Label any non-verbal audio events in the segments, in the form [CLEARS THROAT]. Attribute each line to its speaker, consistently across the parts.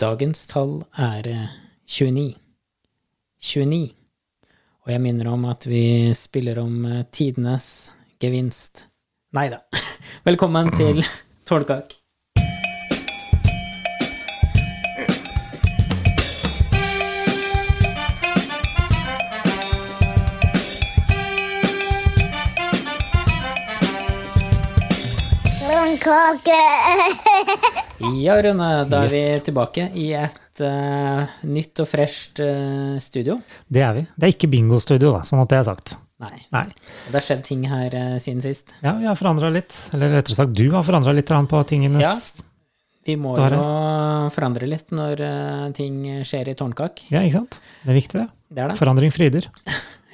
Speaker 1: Dagens tall er eh, 29. 29. Og jeg minner om at vi spiller om eh, tidenes gevinst. Nei da. [LAUGHS] Velkommen
Speaker 2: [CLEARS THROAT]
Speaker 1: til Tårnkak.
Speaker 3: Blomkake.
Speaker 1: Ja, Rune, da er
Speaker 2: Yes.
Speaker 1: vi tilbake i et eh, nytt og fresht eh, studio.
Speaker 2: Det er vi. Det er ikke bingostudio, da, sånn at det er sagt.
Speaker 1: Nei.
Speaker 2: Nei.
Speaker 1: Det har skjedd ting her eh, siden sist.
Speaker 2: Ja, vi har forandra litt. Eller rettere sagt, du har forandra litt grann på tingenes
Speaker 1: Ja.
Speaker 2: ja.
Speaker 1: Vi må
Speaker 2: Du har det.
Speaker 1: jo forandre litt når eh, ting skjer i Tårnkak.
Speaker 2: ikke sant? Det er viktig, det.
Speaker 1: Det er det.
Speaker 2: Forandring fryder.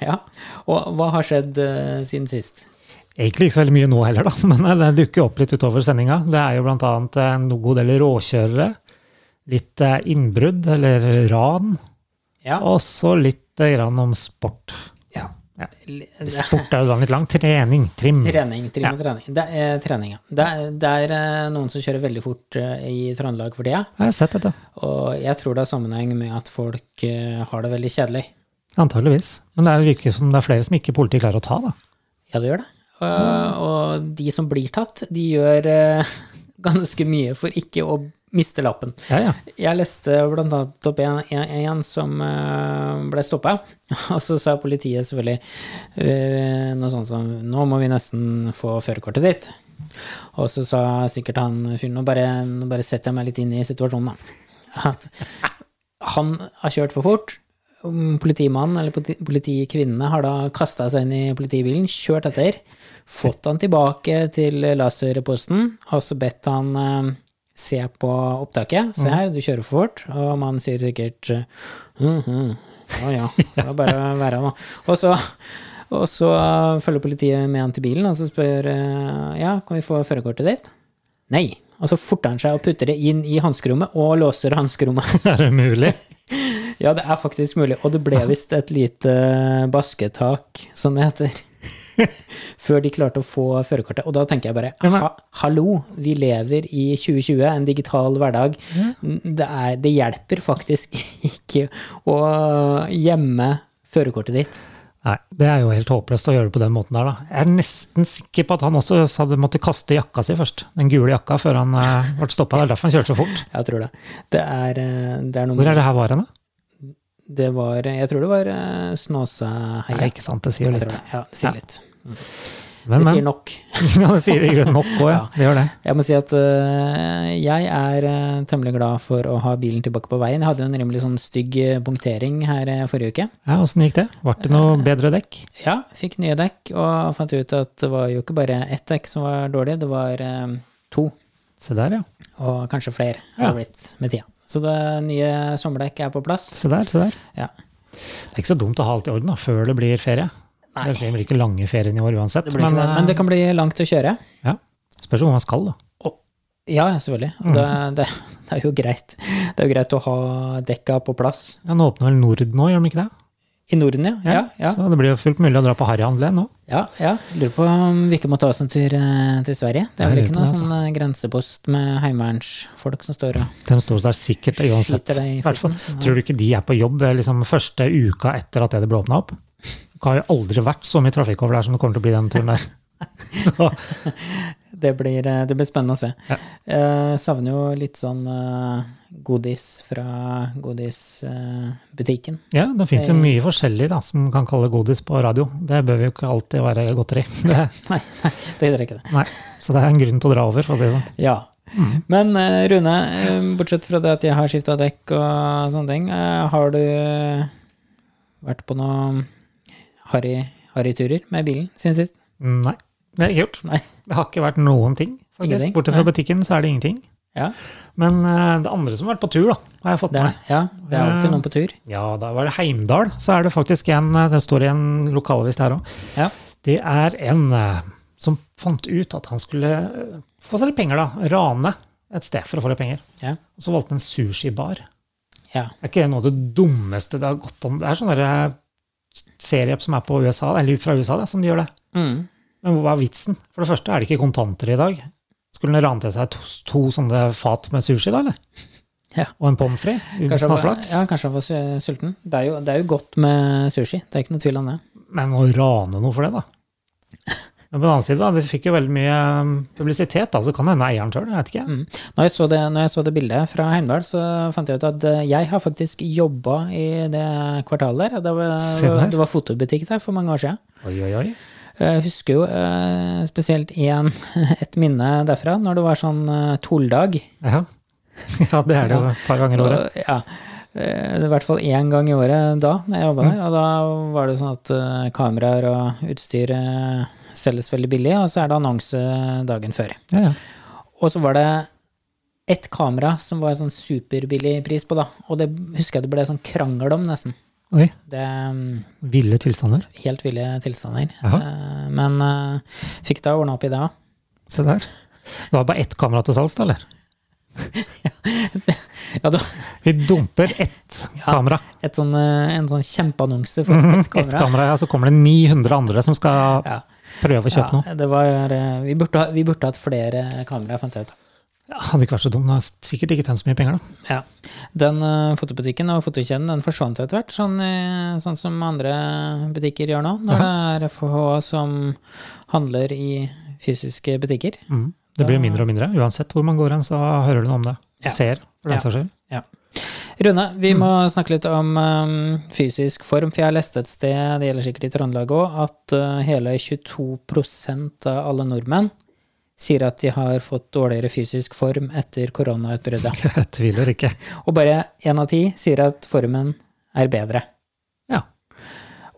Speaker 1: Ja. Og hva har skjedd eh, siden sist?
Speaker 2: Egentlig ikke så veldig mye nå heller, da, [LAUGHS] men eh, det dukker opp litt utover sendinga. Det er jo blant annet eh, en god del råkjørere. Litt eh, innbrudd, eller ran.
Speaker 1: Ja.
Speaker 2: Og så litt eh, grann om sport.
Speaker 1: Ja.
Speaker 2: Ja.
Speaker 1: L- det-
Speaker 2: Sport er jo da litt lang. Trening. Trim.
Speaker 1: Trening, trim og trening. Det er eh, trening, ja. Det er, det er eh, noen som kjører veldig fort eh, i Trøndelag for tida,
Speaker 2: Jeg har sett dette.
Speaker 1: og jeg tror det har sammenheng med at folk eh, har det veldig kjedelig.
Speaker 2: Antageligvis. Men det er jo virker som det er flere som ikke politiet klarer å ta, da.
Speaker 1: Ja, det gjør det. Eh, og de som blir tatt, de gjør eh, [LAUGHS] ganske mye for ikke å miste lappen.
Speaker 2: Ja, [LAUGHS] ja.
Speaker 1: [LAUGHS] Jeg leste blant annet opp en, en, en som eh, ble stoppa, [LAUGHS] og så sa politiet selvfølgelig eh, noe sånt som Nå må vi nesten få førerkortet ditt. Og så sa sikkert han fyren Nå bare, nå bare setter jeg meg litt inn i situasjonen, da. [LAUGHS] At han har kjørt for fort. Mm, Politimannen eller politi- politikvinnene har da kasta seg inn i politibilen, kjørt etter, fått han tilbake til laserposten og så bedt han eh, se på opptaket. Se her, du kjører for fort. Og mannen sier sikkert eh, «Mhm, Ja ja, det er bare å være nå. Og så, og så eh, følger politiet med han til bilen og så spør eh, ja, kan vi få førerkortet ditt? Nei. Og så forter han seg og putter det inn i hanskerommet og låser hanskerommet.
Speaker 2: Er det mulig?
Speaker 1: Ja, det er faktisk mulig. Og det ble visst et lite eh, basketak, som det heter, [LAUGHS] før de klarte å få førerkortet. Og da tenker jeg bare ha, hallo, vi lever i 2020, en digital hverdag. Mm, Det, er, det hjelper faktisk [LAUGHS] ikke å gjemme førerkortet ditt.
Speaker 2: Nei, det er jo helt håpløst å gjøre det på den måten der, da. Jeg er nesten sikker på at han også hadde måttet kaste jakka si først. Den gule jakka før han eh, ble stoppa. Det er derfor han kjørte så fort.
Speaker 1: Jeg tror det. Det er, eh, det er noe
Speaker 2: Hvor
Speaker 1: med
Speaker 2: er det her var hen, da?
Speaker 1: Det var Jeg tror det var eh, Snåsaheia.
Speaker 2: Nei, ikke sant, det sier jo
Speaker 1: Jeg tror
Speaker 2: litt.
Speaker 1: det. Ja, det sier
Speaker 2: Ja.
Speaker 1: litt.
Speaker 2: Men,
Speaker 1: Det
Speaker 2: men.
Speaker 1: sier nok.
Speaker 2: [LAUGHS] Ja, det sier i grunnen nok òg, ja.
Speaker 1: Ja.
Speaker 2: Det gjør det.
Speaker 1: Jeg må si at øh, jeg er øh, temmelig glad for å ha bilen tilbake på veien. Jeg hadde jo en rimelig sånn stygg øh, punktering her øh, forrige uke.
Speaker 2: Ja, Åssen gikk det? Ble det noe bedre dekk?
Speaker 1: Ja, fikk nye dekk og fant ut at det var jo ikke bare ett dekk som var dårlig, det var øh, to,
Speaker 2: Se der, ja.
Speaker 1: og kanskje flere har det blitt med tida. Så det nye sommerdekk er på plass.
Speaker 2: Se der, se der.
Speaker 1: Ja.
Speaker 2: Det er ikke så dumt å ha alt i orden da, før det blir ferie.
Speaker 1: Nei.
Speaker 2: Det vil si, det blir ikke lange ferien i år uansett.
Speaker 1: Det blir ikke
Speaker 2: men,
Speaker 1: det, men det kan bli langt å kjøre.
Speaker 2: eh, ja. Spørs hvor man skal, da.
Speaker 1: Ja, ja, selvfølgelig. Og Det, det, [LAUGHS] det er jo greit. Det er jo greit å ha dekka på plass.
Speaker 2: Ja, nå åpner vel Nord nå, gjør de ikke det?
Speaker 1: I Norden, ja. ja, ja.
Speaker 2: Så det blir jo fullt mulig å dra på harryhandel igjen nå.
Speaker 1: Ja, ja. Lurer på om vi ikke må ta oss en tur eh, til Sverige. Det er vel
Speaker 2: Jeg lurer
Speaker 1: ikke
Speaker 2: på
Speaker 1: noen
Speaker 2: det,
Speaker 1: sånn eh, grensepost med heimevernsfolk som står og
Speaker 2: De står der sikkert uansett.
Speaker 1: Skyter deg i
Speaker 2: Hvertfall.
Speaker 1: foten, så-
Speaker 2: Tror du ikke de er på jobb eh, liksom, første uka etter at det ble åpna opp? Det har jo aldri vært så mye trafikk over der som det kommer til å bli den
Speaker 1: [LAUGHS]
Speaker 2: turen der. Så,
Speaker 1: det blir, eh, det blir spennende å se. Eh, savner jo litt sånn eh, godis fra godisbutikken.
Speaker 2: ja, det fins jo mye forskjellig da, som kan kalle godis på radio. Det bør jo ikke alltid være godteri. Det,
Speaker 1: nei, nei, det gidder jeg ikke det.
Speaker 2: nei. Så det er en grunn til å dra over, for å si det sånn.
Speaker 1: Ja. Men eh, Rune, eh, bortsett fra det at jeg har skifta dekk og sånne ting, eh, har du vært på noen harry- harryturer med bilen siden sist?
Speaker 2: sånn. Nei, det er ikke gjort.
Speaker 1: Nei.
Speaker 2: Det har ikke vært noen ting. faktisk.
Speaker 1: Ingenting?
Speaker 2: Bortsett fra butikken så er det ingenting.
Speaker 1: Ja,
Speaker 2: Men eh, det andre som har vært på tur, da, har jeg fått
Speaker 1: det er,
Speaker 2: med meg.
Speaker 1: ja, det er alltid noen på tur.
Speaker 2: Ja, da var det Heimdal. Så er det faktisk en eh, Det står i en lokalavis der òg.
Speaker 1: Ja.
Speaker 2: Det er en eh, som fant ut at han skulle eh, få seg litt penger, da. Rane et sted for å få litt penger.
Speaker 1: Ja.
Speaker 2: Og så valgte han en sushibar.
Speaker 1: Ja.
Speaker 2: Er ikke det noe av det dummeste det har gått an? Det er sånn derre seriep som er på USA, eller fra USA, da, som de gjør det.
Speaker 1: Mm.
Speaker 2: Men hva er vitsen? For det første er det ikke kontanter i dag. Skulle han rane til seg to, to sånne fat med sushi, da, eller?
Speaker 1: Ja.
Speaker 2: og en pommes frites uten
Speaker 1: Kanskje han var,
Speaker 2: snarflaks.
Speaker 1: ja, kanskje han var su- sulten. Det er, jo, det er jo godt med sushi, det er ikke noe tvil om det.
Speaker 2: Men å rane noe for det, da. Men på den annen side, da, vi fikk jo veldig mye um, publisitet, da, så kan det hende eieren sjøl, jeg vet ikke.
Speaker 1: Mm. Når jeg så det, når jeg så det bildet fra Heimdal, så fant jeg ut at eh, jeg har faktisk jobba i det kvartalet der. Det
Speaker 2: Se
Speaker 1: var,
Speaker 2: der.
Speaker 1: det var fotobutikk der for mange år siden.
Speaker 2: Oi, oi, oi.
Speaker 1: Jeg husker jo eh, spesielt igjen [LAUGHS] et minne derfra, når det var sånn eh, Toldag.
Speaker 2: Ja. [LAUGHS] ja, det er det jo et par ganger i året.
Speaker 1: Og, Ja. eh, Det var i hvert fall én gang i året da når jeg
Speaker 2: Mm.
Speaker 1: jobba der. Og da var det sånn at eh, kameraer og utstyr eh, selges veldig billig, og så er det annonse dagen før.
Speaker 2: Ja, ja.
Speaker 1: Og så var det ett kamera som var sånn superbillig pris på, da. Og det husker jeg det ble sånn krangel om, nesten.
Speaker 2: Oi.
Speaker 1: Det mm,
Speaker 2: Ville tilstander.
Speaker 1: Helt ville tilstander.
Speaker 2: Jaha.
Speaker 1: Eh, Men eh, fikk da ordna opp i det òg.
Speaker 2: Se der. Det var bare ett kamera til salgs, da, eller?
Speaker 1: Ja, det var
Speaker 2: Vi dumper
Speaker 1: [LAUGHS]
Speaker 2: ett kamera.
Speaker 1: et sånn, eh, en sånn kjempeannonse
Speaker 2: [LAUGHS]
Speaker 1: for ett
Speaker 2: Ett
Speaker 1: kamera.
Speaker 2: kamera, ja, så kommer det 900 andre som skal
Speaker 1: Ja.
Speaker 2: prøve å kjøpe noe.
Speaker 1: Ja, det var, eh, vi, burde, ha- vi burde hatt flere kameraer, fant jeg ut.
Speaker 2: Ja, hadde ikke vært så dum. da. Sikkert ikke tjent så mye penger, da.
Speaker 1: Ja. Den eh, fotobutikken og fotokjeden den forsvant jo etter hvert, sånn, eh, sånn som andre butikker gjør nå. Når det er FH som handler i fysiske butikker.
Speaker 2: Mm. Det blir
Speaker 1: Da-
Speaker 2: mindre og mindre. Uansett hvor man går hen, så hører du noe om det.
Speaker 1: Ja.
Speaker 2: Ser, for
Speaker 1: Ja.
Speaker 2: den saks skyld. [LAUGHS]
Speaker 1: Rune, vi må snakke litt om eh, fysisk form, for jeg har lest et sted, det gjelder sikkert i Trøndelag òg, at eh, hele 22 av alle nordmenn sier at de har fått dårligere fysisk form etter koronautbruddet.
Speaker 2: Jeg tviler ikke.
Speaker 1: Og bare én av ti sier at formen er bedre.
Speaker 2: Ja.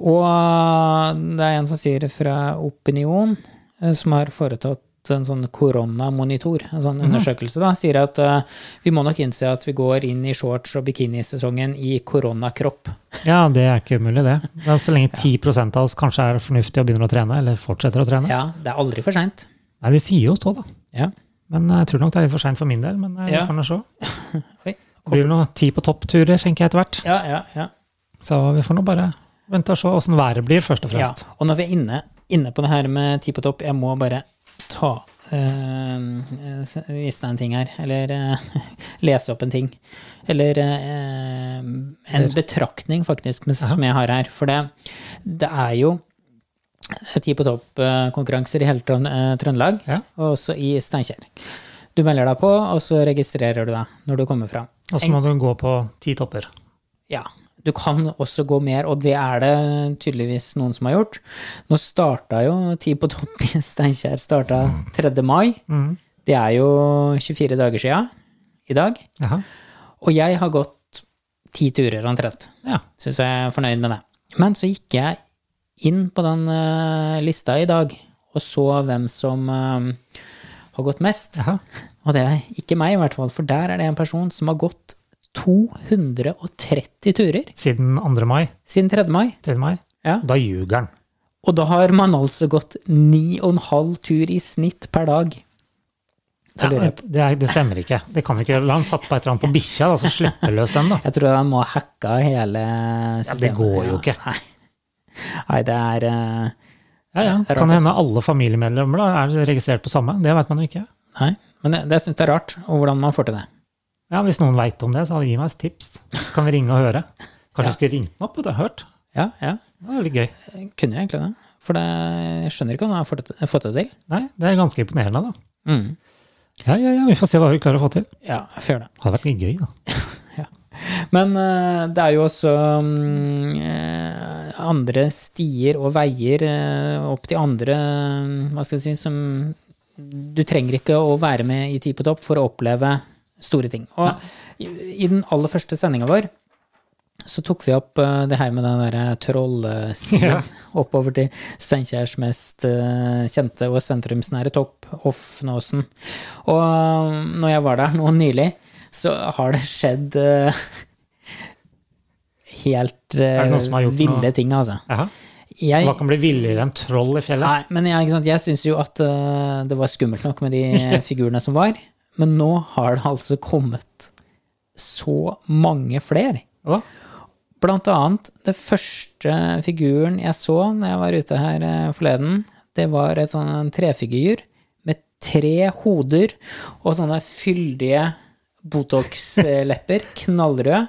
Speaker 1: Og det er en som sier fra Opinion, eh, som har foretatt en sånn koronamonitor, en sånn undersøkelse, da, sier at eh, vi må nok innse at vi går inn i shorts- og bikinisesongen i koronakropp.
Speaker 2: Ja, det er ikke umulig, det. Men så lenge 10 av oss kanskje er fornuftige og begynner å trene, eller fortsetter å trene.
Speaker 1: Ja, det er aldri for seint.
Speaker 2: Nei, de sier jo så, da.
Speaker 1: Ja.
Speaker 2: Men jeg tror nok det er litt for seint for min del. Men jeg
Speaker 1: Ja.
Speaker 2: får nå se.
Speaker 1: [LAUGHS] Oi.
Speaker 2: Det blir vel noen ti på topp-turer, tenker jeg etter hvert.
Speaker 1: Ja, ja, ja.
Speaker 2: Så vi får nå bare vente og se åssen været blir, først og
Speaker 1: ja.
Speaker 2: fremst.
Speaker 1: Og når vi er inne, inne på det her med ti på topp, jeg må bare ta eh, s- Vise deg en ting her, eller eh, [LAUGHS] lese opp en ting. Eller eh, en betraktning, faktisk, med- som jeg har her. For det, det er jo ti på topp-konkurranser i hele Trøn- eh, Trøndelag,
Speaker 2: Ja.
Speaker 1: og også i Steinkjer. Du melder deg på, og så registrerer du deg når du kommer fram.
Speaker 2: Og så må du gå på ti topper.
Speaker 1: Ja. Du kan også gå mer, og det er det tydeligvis noen som har gjort. Nå starta jo Ti på topp i [LAUGHS] Steinkjer starta 3. mai.
Speaker 2: Mhm.
Speaker 1: Det er jo 24 dager sia i dag.
Speaker 2: Jaha.
Speaker 1: Og jeg har gått ti turer omtrent.
Speaker 2: Ja.
Speaker 1: Syns jeg er fornøyd med det. Men så gikk jeg inn på den eh, lista i dag og så hvem som eh, har gått mest.
Speaker 2: Jaha.
Speaker 1: Og det er ikke meg, i hvert fall, for der er det en person som har gått 230 turer
Speaker 2: Siden 2. mai.
Speaker 1: siden 3. mai.
Speaker 2: 3. mai.
Speaker 1: Ja.
Speaker 2: Da ljuger han.
Speaker 1: Og da har man altså gått ni og en halv tur i snitt per dag. Da
Speaker 2: Ja,
Speaker 1: lurer jeg på.
Speaker 2: det, er- det stemmer ikke. Det kan du ikke gjøre. La han satt på et eller annet på bikkja, da, så slipper løs den,
Speaker 1: [LAUGHS]
Speaker 2: da.
Speaker 1: Jeg tror han må ha hacka hele systemet.
Speaker 2: går jo ikke.
Speaker 1: Nei. Nei, det er eh,
Speaker 2: Ja, ja.
Speaker 1: Det er
Speaker 2: Kan
Speaker 1: rart,
Speaker 2: hende alle familiemedlemmer da, er registrert på samme. Det vet man jo ikke.
Speaker 1: Nei. Men det, det syns jeg er rart, og hvordan man får til det.
Speaker 2: Ja, Hvis noen veit om det, så gi meg et tips. Kan vi ringe og høre?
Speaker 1: Ja.
Speaker 2: Kanskje vi skulle ringt den opp? vet Du har hørt?
Speaker 1: Ja, ja.
Speaker 2: Det var veldig gøy.
Speaker 1: Kunne jeg egentlig det? For det, jeg skjønner ikke hvordan jeg har fått det- fått det til.
Speaker 2: Nei, det er ganske imponerende, da.
Speaker 1: Mm.
Speaker 2: Ja, ja, ja, vi får se hva vi klarer å få til.
Speaker 1: Ja, jeg får gjøre det.
Speaker 2: Hadde vært litt gøy, da.
Speaker 1: Men eh, det er jo også mm, eh, andre stier og veier eh, opp til andre eh, Hva skal jeg si som Du trenger ikke å være med i Ti på topp for å oppleve store ting. Og i, i den aller første sendinga vår så tok vi opp eh, det her med den derre trollstien
Speaker 2: Ja.
Speaker 1: [LAUGHS] oppover til Steinkjers mest eh, kjente og sentrumsnære topp, Hofnåsen. Og eh, når jeg var der nå nylig, så har det skjedd eh, helt eh,
Speaker 2: Er det noen som har gjort
Speaker 1: ville
Speaker 2: noe?
Speaker 1: ting, altså.
Speaker 2: Jaha.
Speaker 1: Jeg,
Speaker 2: Hva kan bli villere enn troll i fjellet?
Speaker 1: nei, men jeg, ikke sant, jeg syns jo at eh, det var skummelt nok
Speaker 2: [LAUGHS]
Speaker 1: med de figurene som var, men nå har det altså kommet så mange flere.
Speaker 2: Hva?
Speaker 1: Blant annet, det første figuren jeg så når jeg var ute her eh, forleden, det var et sånn en trefigur med tre hoder og sånne fyldige Botox-lepper, [LAUGHS] knallrøde,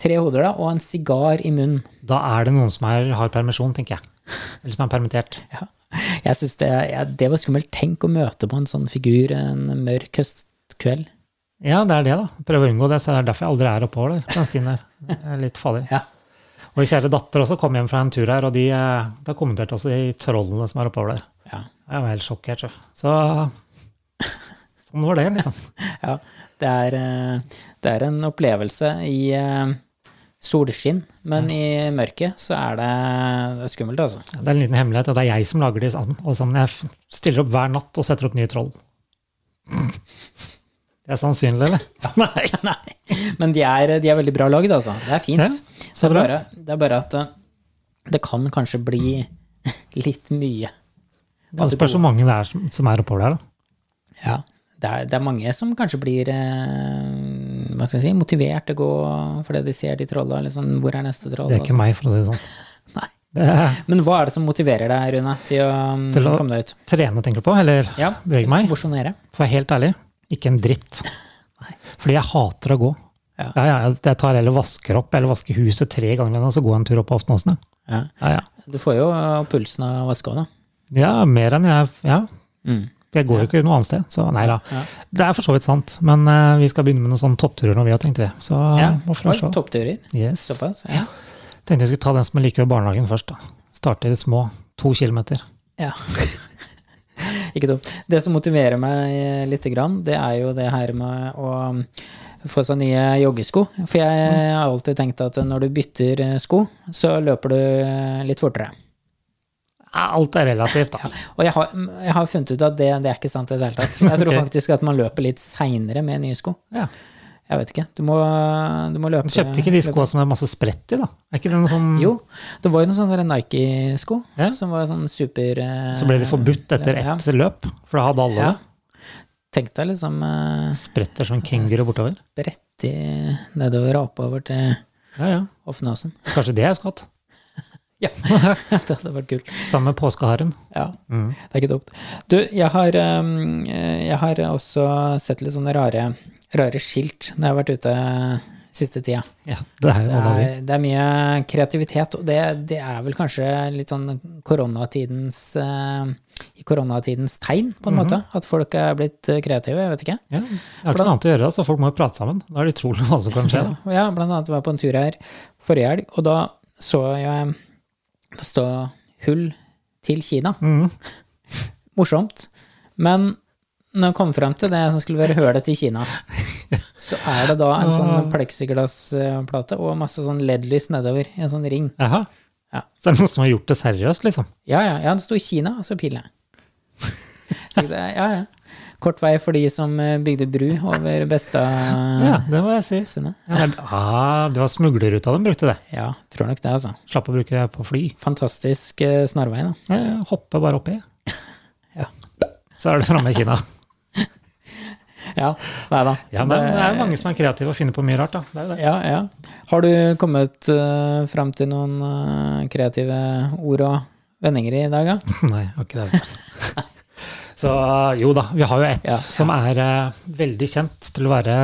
Speaker 1: tre hoder da, og en sigar i munnen.
Speaker 2: Da er det noen som er, har permisjon, tenker jeg. Eller som er permittert.
Speaker 1: Ja. Jeg synes det, ja, det var skummelt. Tenk å møte på en sånn figur en mørk høstkveld.
Speaker 2: Ja, det er det, da. Prøve å unngå det. Så det er derfor jeg aldri er oppover der. på den stien der. Det er litt farlig.
Speaker 1: Ja.
Speaker 2: Vår kjære datter også kom hjem fra en tur her, og de, eh, da kommenterte også de trollene som er oppover der.
Speaker 1: Ja.
Speaker 2: Jeg var helt sjokkert. sjef. Så sånn var det, liksom.
Speaker 1: Ja, det er, eh, det er en opplevelse i eh, solskinn, men i mørket så er det, det er skummelt, altså.
Speaker 2: Det er en liten hemmelighet, og det er jeg som lager de sammen. Og sammen jeg f- stiller opp hver natt og setter opp nye troll. Det er sannsynlig, eller?
Speaker 1: [LAUGHS] Nei, nei. Men de er, de er veldig bra lagd, altså. Det er fint.
Speaker 2: Ja, så bra.
Speaker 1: Det, er bare, det er bare at eh, det kan kanskje bli [LAUGHS] litt mye.
Speaker 2: Det spørs hvor mange det er som, som er oppover der. da.
Speaker 1: Ja, det er, det er mange som kanskje blir eh, hva skal jeg si, motivert til å gå fordi de ser de trolla. Liksom, hvor er neste troll?
Speaker 2: Det er ikke meg, for å si det sånn.
Speaker 1: [LAUGHS] Nei.
Speaker 2: Det er
Speaker 1: Men hva er det som motiverer deg, Rune, til å, mm,
Speaker 2: Til å-
Speaker 1: komme deg ut?
Speaker 2: trene, tenker du på? Eller
Speaker 1: Ja,
Speaker 2: bevege meg?
Speaker 1: Mosjonere.
Speaker 2: For å være helt ærlig, ikke en
Speaker 1: [LAUGHS]
Speaker 2: dritt. Fordi jeg hater å gå.
Speaker 1: Ja.
Speaker 2: Ja, ja, jeg tar eller vasker opp, eller vasker huset tre ganger, og så går jeg en tur opp på Aftenåsen. ja.
Speaker 1: Ja.
Speaker 2: Ja, ja.
Speaker 1: Du får jo eh, pulsen av å vaske òg, da.
Speaker 2: ja, mer enn jeg Ja,
Speaker 1: Mm.
Speaker 2: jeg går jo ikke noe annet sted, så nei da.
Speaker 1: Ja.
Speaker 2: Det er for så vidt sant, men eh, vi skal begynne med noen sånne toppturer når vi har tenkt det. Så eh,
Speaker 1: Ja.
Speaker 2: må vi
Speaker 1: Oi,
Speaker 2: se.
Speaker 1: toppturer.
Speaker 2: Yes.
Speaker 1: Såpass. Ja.
Speaker 2: Tenkte vi skulle ta den som er like ved barnehagen først. da. Starte i det små. To kilometer.
Speaker 1: Ja. [LAUGHS] Ikke dumt. Det som motiverer meg eh, lite grann, det er jo det her med å um, få seg nye joggesko. For jeg
Speaker 2: Mm.
Speaker 1: har alltid tenkt at når du bytter eh, sko, så løper du eh, litt fortere.
Speaker 2: Ja, Alt er relativt, da.
Speaker 1: Og jeg har, mm, jeg har funnet ut at det, det er ikke sant i det hele tatt.
Speaker 2: [LAUGHS]
Speaker 1: Jeg tror
Speaker 2: Ok.
Speaker 1: faktisk at man løper litt seinere med nye sko.
Speaker 2: Ja.
Speaker 1: Jeg vet ikke. Du må, du må løpe
Speaker 2: Du kjøpte ikke de skoa som det er masse sprett i, da? Er ikke det noe sånn
Speaker 1: Jo. Det var jo noen sånne der Nike-sko
Speaker 2: Ja.
Speaker 1: som var sånn super eh,
Speaker 2: Så ble de forbudt etter
Speaker 1: Ja.
Speaker 2: ett løp, for da hadde alle
Speaker 1: Ja.
Speaker 2: det.
Speaker 1: Tenk deg liksom eh,
Speaker 2: Spretter som kenguru bortover.
Speaker 1: brettig nedover og oppover til
Speaker 2: Ja, ja.
Speaker 1: Hofnåsen.
Speaker 2: Kanskje det er skatt.
Speaker 1: Ja, [LAUGHS] det hadde vært kult.
Speaker 2: Sammen med påskeharen.
Speaker 1: Ja, Det er ikke dumt. Du, jeg har, um, jeg har også sett litt sånne rare, rare skilt når jeg har vært ute siste tida.
Speaker 2: Ja, det er
Speaker 1: Det
Speaker 2: noen av de.
Speaker 1: er, det er mye kreativitet, og det, det er vel kanskje litt sånn koronatidens eh, i koronatidens tegn, på en måte. At folk er blitt eh, kreative, jeg vet ikke.
Speaker 2: Ja, jeg har ikke noe annet å gjøre, da, så folk må jo prate sammen. Da er det utrolig hva som kan skje. da.
Speaker 1: Og jeg blant annet var på en tur her forrige helg, og da så jeg det stå hull til Kina.
Speaker 2: Mhm.
Speaker 1: [LAUGHS] Morsomt. Men når jeg kom frem til det som skulle være hølet til Kina, så er det da en sånn pleksiglassplate og masse sånn LED-lys nedover i en sånn ring.
Speaker 2: Jaha.
Speaker 1: Ja.
Speaker 2: Så det er noen som har gjort det seriøst, liksom.
Speaker 1: Ja, ja, ja, det sto Kina, og så piler jeg. Tenkte jeg. Ja, ja. Kort vei for de som eh, bygde bru over
Speaker 2: Ja,
Speaker 1: Besta
Speaker 2: det må jeg si.
Speaker 1: sundet.
Speaker 2: Ja, det, er- ah, det var smuglerruta de brukte det.
Speaker 1: Ja, tror nok det, altså.
Speaker 2: Slapp å bruke det på fly.
Speaker 1: Fantastisk eh, snarvei, da.
Speaker 2: Eh, Hoppe bare oppi,
Speaker 1: Ja.
Speaker 2: så er det framme i Kina.
Speaker 1: Ja, nei da.
Speaker 2: Ja, men det er jo mange som er kreative og finner på mye rart, da. Det er jo det.
Speaker 1: ja, ja. Har du kommet uh, fram til noen eh, kreative ord og vendinger i dag, da?
Speaker 2: Nei, jeg har ikke det. [LAUGHS] vet du. Så eh, jo da, vi har jo ett
Speaker 1: Ja, ja.
Speaker 2: som er eh, veldig kjent til å være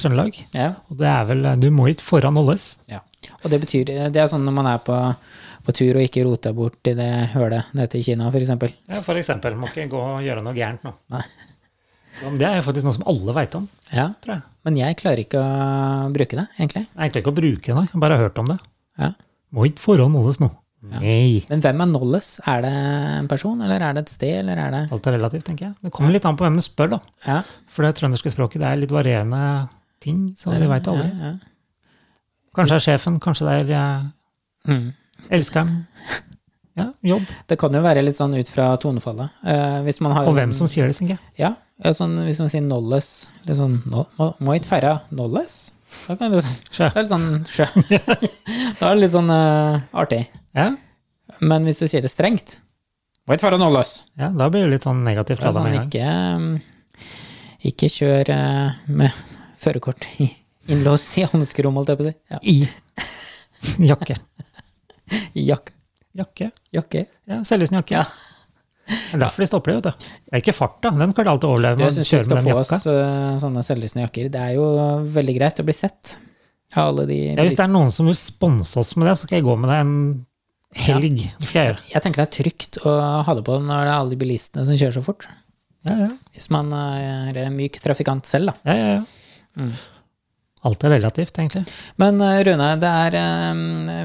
Speaker 2: Trøndelag.
Speaker 1: Ja.
Speaker 2: Og det er vel eh, 'du må hit foran holdes'.
Speaker 1: ja. Og det betyr Det er sånn når man er på, på tur og ikke roter bort i det hølet nede til Kina, f.eks.
Speaker 2: Ja, for eksempel. Må ikke gå og gjøre noe gærent nå.
Speaker 1: Nei.
Speaker 2: Så Det er jo faktisk noe som alle veit om,
Speaker 1: Ja.
Speaker 2: tror jeg.
Speaker 1: Men jeg klarer ikke å bruke det, egentlig.
Speaker 2: Jeg er Egentlig ikke å bruke det, nei. Jeg bare har hørt om det.
Speaker 1: Ja.
Speaker 2: Må ikke foran holdes nå. Nei.
Speaker 1: Men hvem er Nolles? Er det en person, eller er det et sted, eller er det
Speaker 2: Alt er relativt, tenker jeg. Det kommer litt an på hvem du spør, da.
Speaker 1: Ja.
Speaker 2: For det trønderske språket det er litt varierende ting, så vi veit aldri.
Speaker 1: ja, ja.
Speaker 2: Kanskje det er sjefen, kanskje det er eh,
Speaker 1: Mm.
Speaker 2: elskeren. Ja, jobb.
Speaker 1: Det kan jo være litt sånn ut fra tonefallet. Eh, hvis man har
Speaker 2: Og hvem som sier det, tenker jeg.
Speaker 1: Ja, ja, sånn, hvis man sier nolles, litt sånn no, må, må ikke feire nolles? Da kan det,
Speaker 2: [LAUGHS] Sjø.
Speaker 1: det er litt sånn sjø. [LAUGHS] da er det litt sånn eh, artig.
Speaker 2: Ja,
Speaker 1: Men hvis du sier det strengt Må ikke feire nolles!
Speaker 2: ja da blir det litt sånn negativt
Speaker 1: Da er det
Speaker 2: lada
Speaker 1: sånn,
Speaker 2: med en gang.
Speaker 1: ikke, mm, ikke kjør eh, med førerkort i- innlåst i hanskerom, holdt jeg på å si. Ja.
Speaker 2: I. Jakke. [LAUGHS]
Speaker 1: Jakke.
Speaker 2: Jakke.
Speaker 1: Jakke.
Speaker 2: Ja, Seljesen jakke.
Speaker 1: Ja.
Speaker 2: Det er derfor de stopper det, vet du. Det er ikke farta, den skal du alltid overleve
Speaker 1: Du,
Speaker 2: med.
Speaker 1: jeg syns vi
Speaker 2: Kjøre
Speaker 1: skal
Speaker 2: med den
Speaker 1: få oss
Speaker 2: jakka.
Speaker 1: eh, sånne selvlysende jakker. Det er jo veldig greit å bli sett av alle de
Speaker 2: Ja, hvis det er noen som vil sponse oss med det, så skal jeg gå med det en helg. Det skal jeg gjøre.
Speaker 1: Jeg tenker det er trygt å ha det på når det er alle de bilistene som kjører så fort.
Speaker 2: Ja, ja,
Speaker 1: Hvis man eh, er en myk trafikant selv, da.
Speaker 2: ja. ja, ja.
Speaker 1: Mm.
Speaker 2: Alt er relativt, egentlig.
Speaker 1: Men eh, Rune, det er, eh,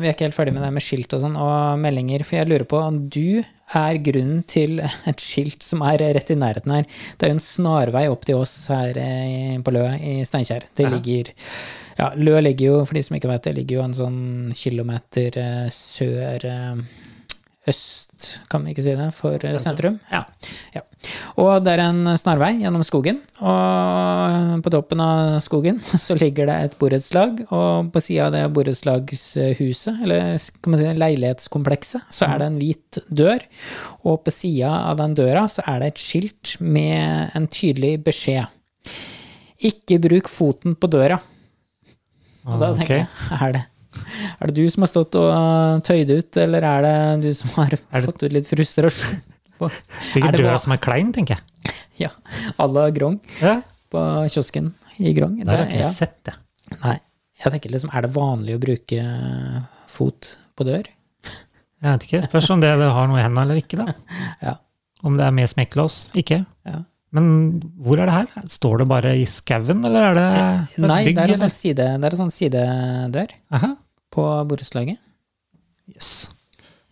Speaker 1: vi er ikke helt ferdig med det med skilt og sånn, og meldinger. For jeg lurer på om du er grunnen til [LAUGHS] et skilt som er rett i nærheten her. Det er jo en snarvei opp til oss her eh, på Lø i Steinkjer. Det ligger ja, Lø ligger jo, for de som ikke vet det, ligger jo en sånn kilometer eh, sør eh, øst, kan vi ikke si det, for eh, sentrum. Ja. ja. Og det er en snarvei gjennom skogen, og på toppen av skogen [LAUGHS] så ligger det et borettslag, og på sida av det borettslagshuset, eller kan man si det, leilighetskomplekset, så er det en hvit dør, og på sida av den døra så er det et skilt med en tydelig beskjed. Ikke bruk foten på døra. Og da
Speaker 2: Ah,
Speaker 1: tenker
Speaker 2: ok.
Speaker 1: jeg, er det, er det du som har stått og øh, tøyd ut, eller er det du som
Speaker 2: [LAUGHS]
Speaker 1: har fått ut litt frustrasjon? På, er
Speaker 2: Sikkert
Speaker 1: det
Speaker 2: døra
Speaker 1: bra?
Speaker 2: som er klein, tenker jeg.
Speaker 1: Ja, à la Grong
Speaker 2: Ja.
Speaker 1: på kiosken i Grong.
Speaker 2: Der har
Speaker 1: Det-
Speaker 2: ikke jeg sett det.
Speaker 1: ja. Nei, jeg tenker liksom, er det vanlig å bruke øh, fot på dør?
Speaker 2: Jeg vet ikke. Spørs om det det har noe i hendene eller ikke, da.
Speaker 1: [LAUGHS] Ja.
Speaker 2: Om det er med smekklås. Ikke.
Speaker 1: ja.
Speaker 2: Men hvor er det her? Står det bare i skauen, eller er det på et
Speaker 1: Eh, Nei, det er, en
Speaker 2: eller?
Speaker 1: sånn side, det er en sånn sidedør
Speaker 2: Aha.
Speaker 1: på borettslaget.
Speaker 2: Jøss.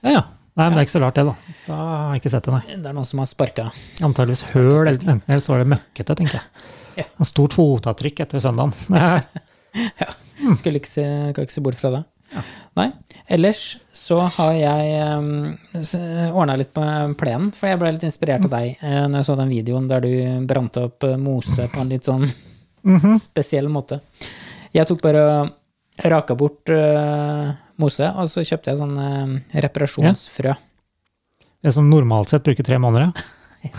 Speaker 2: Ja, ja. Nei, men det er ikke så rart, det, da. Da har jeg ikke sett det, nei.
Speaker 1: Det er noen som har sparka.
Speaker 2: Antakeligvis høl, eller enten eller så var det møkkete, tenker jeg.
Speaker 1: [LAUGHS] Ja.
Speaker 2: En stort fotavtrykk etter søndagen. [LAUGHS] Det
Speaker 1: Skulle ikke se, kan ikke se bort fra det. Nei. Ellers så har jeg ordna litt på plenen, for jeg ble litt inspirert av deg eh, når jeg så den videoen der du brant opp eh, mose på en litt sånn spesiell måte. Jeg tok bare og raka bort eh, mose, og så kjøpte jeg sånn eh, reparasjonsfrø.
Speaker 2: det som normalt sett bruker tre måneder. ja.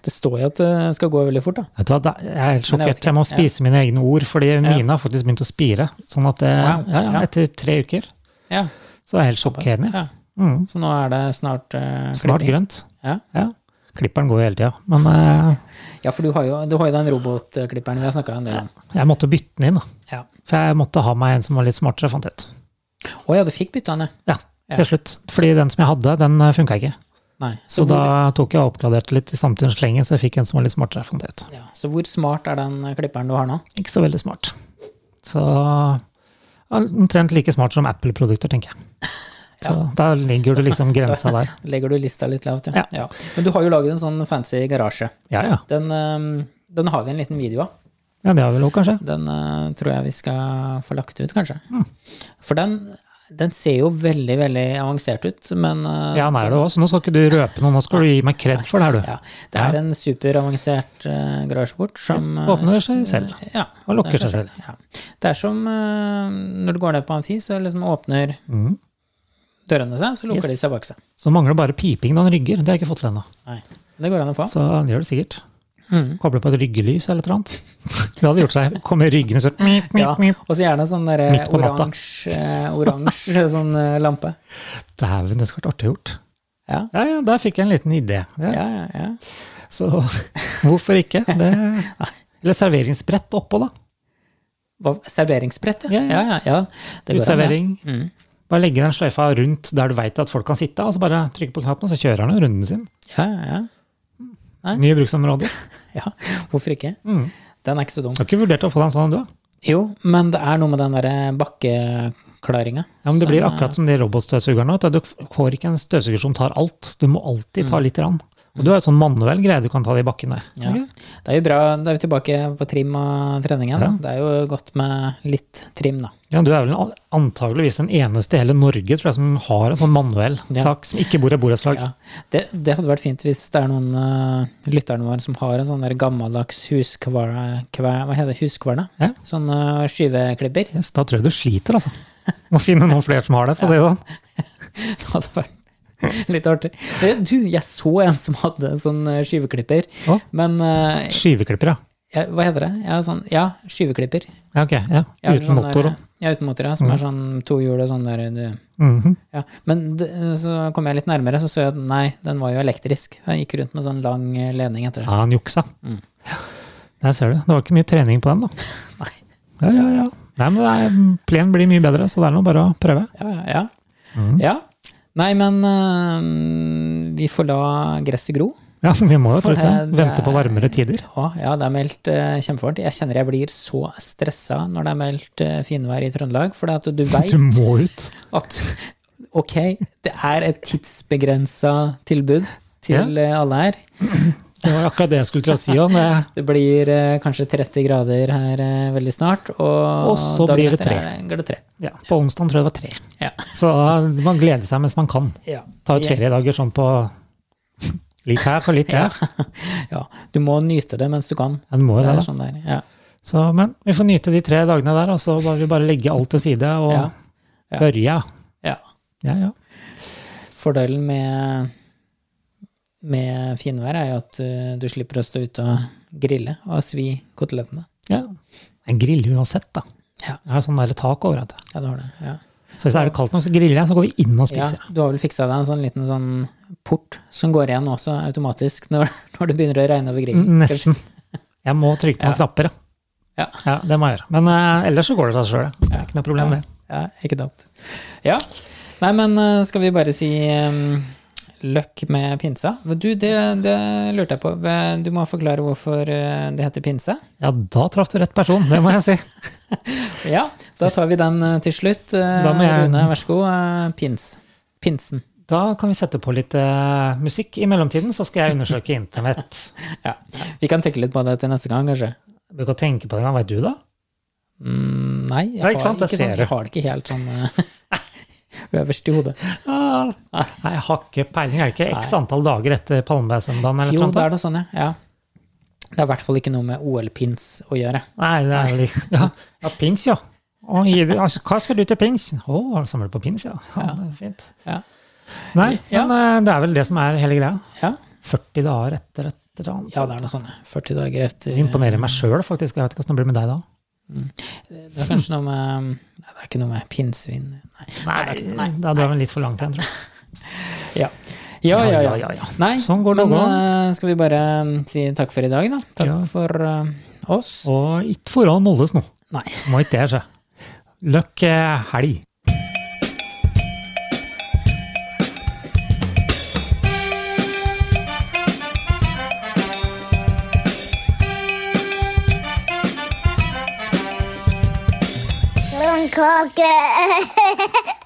Speaker 1: Det står jo at det skal gå veldig fort, da.
Speaker 2: Vet du hva, det- jeg er
Speaker 1: Men
Speaker 2: helt
Speaker 1: jeg vet
Speaker 2: sjokkert. Jeg må
Speaker 1: ikke, ja.
Speaker 2: spise mine egne ord, fordi mine har faktisk begynt å spire. Sånn at det,
Speaker 1: Wow,
Speaker 2: ja, ja,
Speaker 1: ja.
Speaker 2: etter tre uker
Speaker 1: Ja.
Speaker 2: så er jeg helt sjokkerende.
Speaker 1: ja.
Speaker 2: Mm.
Speaker 1: Så nå er det snart eh,
Speaker 2: Snart
Speaker 1: klipping.
Speaker 2: grønt.
Speaker 1: Ja.
Speaker 2: Ja. Klipperen går jo hele tida. Men eh,
Speaker 1: ja, for du har jo, du har jo den robotklipperen vi har snakka en del om.
Speaker 2: jeg måtte bytte den inn, da.
Speaker 1: Ja.
Speaker 2: For jeg måtte ha meg en som var litt smartere, fant jeg ut.
Speaker 1: Å ja, du fikk bytta den, ja.
Speaker 2: Ja,
Speaker 1: Ja.
Speaker 2: til slutt. Fordi den som jeg hadde, den funka ikke.
Speaker 1: Nei. Så,
Speaker 2: Så
Speaker 1: hvor,
Speaker 2: da tok jeg og oppgraderte litt i samtidens slenge, så jeg fikk en som var litt smartere, fant jeg ut.
Speaker 1: ja, så hvor smart er den eh, klipperen du har nå?
Speaker 2: ikke så veldig smart. Så ja, omtrent like smart som Apple-produkter, tenker [LAUGHS] jeg. Så da ligger du liksom grensa der.
Speaker 1: Legger du lista litt lavt,
Speaker 2: Ja.
Speaker 1: Men du har jo laget en sånn fancy garasje.
Speaker 2: Ja, ja.
Speaker 1: Den, eh, den har vi en liten video av.
Speaker 2: Ja, det har vi lov, kanskje.
Speaker 1: Den eh, tror jeg vi skal få lagt ut, kanskje.
Speaker 2: Mm.
Speaker 1: For den, den ser jo veldig, veldig avansert ut, men eh,
Speaker 2: Ja, han er det også. Nå skal ikke du røpe noe, nå skal du gi meg kred for det her, du.
Speaker 1: ja, det er en superavansert eh, garasjeport som eh,
Speaker 2: Åpner seg selv.
Speaker 1: Ja,
Speaker 2: Og lukker
Speaker 1: det er
Speaker 2: seg selv.
Speaker 1: Ja. Det er som eh, når du går ned på amfi, så liksom åpner
Speaker 2: Mhm.
Speaker 1: dørene seg, så lukker de
Speaker 2: Yes.
Speaker 1: seg bak seg.
Speaker 2: Så mangler det bare piping når han rygger. Det har jeg ikke fått til ennå.
Speaker 1: Nei, det går an å få.
Speaker 2: Så han gjør det sikkert.
Speaker 1: Mhm.
Speaker 2: Koble på et ryggelys eller et eller annet. [LAUGHS] Det hadde gjort seg. Komme ryggende sånn mip, mip,
Speaker 1: Ja,
Speaker 2: mip.
Speaker 1: og så gjerne sånn der
Speaker 2: Midt på natta.
Speaker 1: oransje eh, oransje, [LAUGHS] sånn eh, lampe.
Speaker 2: Dæven, det skulle vært artig gjort.
Speaker 1: Ja,
Speaker 2: Ja, ja, der fikk jeg en liten idé. Ja.
Speaker 1: ja, ja. ja.
Speaker 2: Så [LAUGHS] hvorfor ikke? Det... Eller serveringsbrett oppå, da.
Speaker 1: Hva, serveringsbrett, ja.
Speaker 2: Ja,
Speaker 1: Ja,
Speaker 2: ja.
Speaker 1: ja, ja. Det går an, ja.
Speaker 2: Uteservering.
Speaker 1: Mm.
Speaker 2: Bare legge den sløyfa rundt der du veit at folk kan sitte, og så bare trykke på knappen, så kjører han jo runden sin.
Speaker 1: Ja, ja, Nei.
Speaker 2: Nye bruksområder.
Speaker 1: ja. ja. Hvorfor ikke?
Speaker 2: Mm.
Speaker 1: Den er ikke så dum.
Speaker 2: Du har ikke vurdert å få deg en sånn en, du? da?
Speaker 1: Jo, men det er noe med den derre bakkeklaringa.
Speaker 2: Ja, men det
Speaker 1: som,
Speaker 2: blir
Speaker 1: eh,
Speaker 2: akkurat som de robotstøvsugerne. vet Du Du får ikke en støvsuger som tar alt. Du må alltid ta litt. Rann. Og du har jo sånn manuell greie du kan ta det i bakken der.
Speaker 1: Mm. ja.
Speaker 2: Ok?
Speaker 1: Det er jo bra, da er vi tilbake på trim og treningen.
Speaker 2: Ja.
Speaker 1: Det er jo godt med litt trim, da.
Speaker 2: Ja, du er vel an- antageligvis den eneste i hele Norge tror jeg, som har en sånn manuell
Speaker 1: Ja.
Speaker 2: sak, som ikke bor i borettslag.
Speaker 1: Ja. Det, det hadde vært fint hvis det er noen uh, lytterne våre som har en sånn der gammeldags huskvarna, kver, hva heter det, huskvarna?
Speaker 2: Ja.
Speaker 1: Sånn eh, skyveklipper. [LAUGHS]
Speaker 2: Yes, da tror jeg du sliter, altså. Må finne noen flere som har det, for å si det sånn.
Speaker 1: Det hadde vært litt artig. Eh, Du, jeg så en som hadde en sånn eh, skyveklipper,
Speaker 2: Å?
Speaker 1: men eh,
Speaker 2: Skyveklipper, ja.
Speaker 1: ja, Hva heter det? Ja, sånn, ja skyveklipper.
Speaker 2: Ja, ok. Ja.
Speaker 1: Ja,
Speaker 2: Uten
Speaker 1: sånn
Speaker 2: motor
Speaker 1: der-
Speaker 2: Mm. òg.
Speaker 1: Ja, uten motor, ja. Som er sånn to hjul og sånn der du
Speaker 2: Mhm.
Speaker 1: Ja, men d- så kom jeg litt nærmere, så så jeg at nei, den var jo elektrisk. Den gikk rundt med sånn lang eh, ledning etter seg.
Speaker 2: Ja, han juksa.
Speaker 1: Mm.
Speaker 2: Ja. Der ser du. Det var ikke mye trening på
Speaker 1: [LAUGHS]
Speaker 2: den, da. Nei. Ja, ja, ja. Nei, men det er, plen blir mye bedre, så det er nå bare å prøve.
Speaker 1: Ja, ja, ja.
Speaker 2: Mm.
Speaker 1: ja. Nei, men eh, vi får la gresset gro.
Speaker 2: Ja, vi må jo
Speaker 1: For
Speaker 2: tross alt
Speaker 1: det- det
Speaker 2: vente på
Speaker 1: er-
Speaker 2: varmere tider.
Speaker 1: Ja, ja det er meldt eh, kjempevarmt. Jeg kjenner jeg blir så stressa når det er meldt eh, finvær i Trøndelag, for at du veit
Speaker 2: [LAUGHS] Du må ut.
Speaker 1: at ok, det er et tidsbegrensa tilbud til eh, alle her.
Speaker 2: Det var akkurat det jeg skulle til å si. Om det.
Speaker 1: Det blir eh, kanskje 30 grader her eh, veldig snart, og,
Speaker 2: Og så
Speaker 1: dagen
Speaker 2: blir det
Speaker 1: etter
Speaker 2: tre.
Speaker 1: er det- går det tre.
Speaker 2: Ja, på onsdag tror jeg det var tre.
Speaker 1: Ja.
Speaker 2: Så eh, man gleder seg mens man kan.
Speaker 1: Ja.
Speaker 2: Ta ut
Speaker 1: Ja.
Speaker 2: feriedager sånn på [LAUGHS] litt her og litt der.
Speaker 1: ja. Du må nyte det mens du kan.
Speaker 2: Ja, du må
Speaker 1: Det
Speaker 2: jo det,
Speaker 1: er
Speaker 2: da.
Speaker 1: sånn der. Ja. vi
Speaker 2: Så, men vi får nyte de tre dagene der, og så bare, bare legge alt til side og
Speaker 1: Ja. Ja.
Speaker 2: børja.
Speaker 1: Ja.
Speaker 2: Ja, ja.
Speaker 1: Fordelen med, med finvær er jo at eh, du slipper å stå ute og grille og svi kotelettene.
Speaker 2: ja. Jeg griller uansett, da.
Speaker 1: Ja.
Speaker 2: Jeg har sånn der tak over. Vet du.
Speaker 1: Ja, du har det. Ja.
Speaker 2: Så hvis det er kaldt nok, så griller jeg, så går vi inn og
Speaker 1: Ja,
Speaker 2: spiser.
Speaker 1: du har vel fiksa deg en sånn liten sånn port som går igjen også automatisk [LAUGHS] når, når det begynner å regne over
Speaker 2: N-
Speaker 1: grillen.
Speaker 2: Nesten. Jeg må trykke på noen knapper, ja.
Speaker 1: Ja.
Speaker 2: Det må jeg gjøre. Men eh, ellers så går det seg sjøl. Det er ikke noe problem, det.
Speaker 1: Ja, ikke dumt. Ja. Nei, men eh, skal vi bare si um, løkk med pinsa? Men Du, det, det lurte jeg på. Hva- Du må forklare hvorfor eh, det heter pinse.
Speaker 2: Ja, da traff du rett person, det må jeg si.
Speaker 1: Ja, da tar vi den eh, til slutt. Eh,
Speaker 2: Da må jeg-
Speaker 1: Rune, vær så god. Eh, Pins. Pinsen.
Speaker 2: Da kan vi sette på litt eh, musikk i mellomtiden, så skal jeg undersøke internett.
Speaker 1: Ja. Vi kan tenke litt på det til neste gang, kanskje.
Speaker 2: Du kan tenke på det en gang, veit du da?
Speaker 1: Mm, nei, jeg,
Speaker 2: Ja, ikke sant,
Speaker 1: har,
Speaker 2: det
Speaker 1: ikke
Speaker 2: ser
Speaker 1: sånn,
Speaker 2: du.
Speaker 1: jeg har det ikke helt sånn eh, [LAUGHS] øverst i hodet.
Speaker 2: Ah, nei, jeg har ikke peiling. Er det ikke x antall dager etter Palmebærsøndagen? eller
Speaker 1: Jo,
Speaker 2: noe
Speaker 1: det
Speaker 2: sånt?
Speaker 1: er noe sånn, ja. ja. Det er i hvert fall ikke noe med OL-pins å gjøre.
Speaker 2: Nei, det er vel ikke Ja, ja pins, ja. Å, gi det- altså, hva skal du til pins? Å, samler du på pins, ja. ja. det er Fint.
Speaker 1: Ja.
Speaker 2: Nei,
Speaker 1: Ja.
Speaker 2: men eh, det er vel det som er hele greia.
Speaker 1: Ja,
Speaker 2: 40 dager etter et eller annet.
Speaker 1: ja det er noe sånn. ja. 40 dager etter
Speaker 2: Jeg imponerer meg sjøl, faktisk. Jeg vet ikke hvordan det blir med deg da.
Speaker 1: eh, Det er kanskje noe med mm, Nei, det er ikke noe med pinnsvin. Nei.
Speaker 2: Nei, nei, da drar vi litt for langt igjen, tror jeg.
Speaker 1: Ja. Ja, ja, ja. Nei,
Speaker 2: Sånn går det
Speaker 1: men
Speaker 2: å gå.
Speaker 1: eh, skal vi bare eh, si takk for i dag, da? Takk
Speaker 2: Ja.
Speaker 1: for eh, oss.
Speaker 2: Og ikke foran Moldes nå.
Speaker 1: Nei.
Speaker 2: Må ikke det skje. Løkk eh, helg.
Speaker 3: Little Cocker.